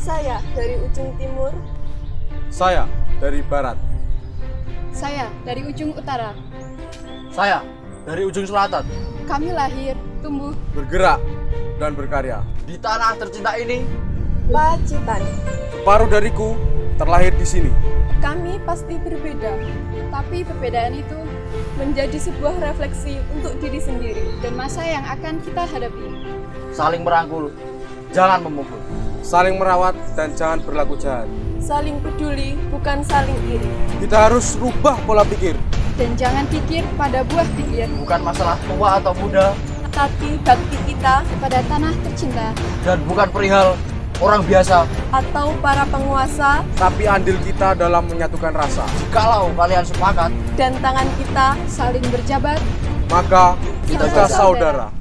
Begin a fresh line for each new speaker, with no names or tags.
Saya dari ujung timur,
Saya dari barat.
Saya dari ujung utara.
Saya dari ujung selatan
Kami lahir, tumbuh,
Bergerak dan berkarya.
di tanah tercinta ini
Pacitan.
Separuh dariku terlahir di sini.
Kami pasti berbeda.
tapi perbedaan itu
Menjadi sebuah refleksi untuk diri sendiri.
dan masa yang akan kita hadapi.
saling merangkul, jangan memukul.
Saling merawat dan jangan berlaku jahat.
Saling peduli, bukan saling iri.
Kita harus rubah pola pikir.
Dan jangan pikir pada buah pikir,
Bukan masalah tua atau muda
Tapi bakti kita
pada tanah tercinta,
dan bukan perihal orang biasa.
atau para penguasa
Tapi andil kita dalam menyatukan rasa.
Jikalau kalian sepakat,
dan tangan kita
saling berjabat,
Maka kita,
Kita
saudara.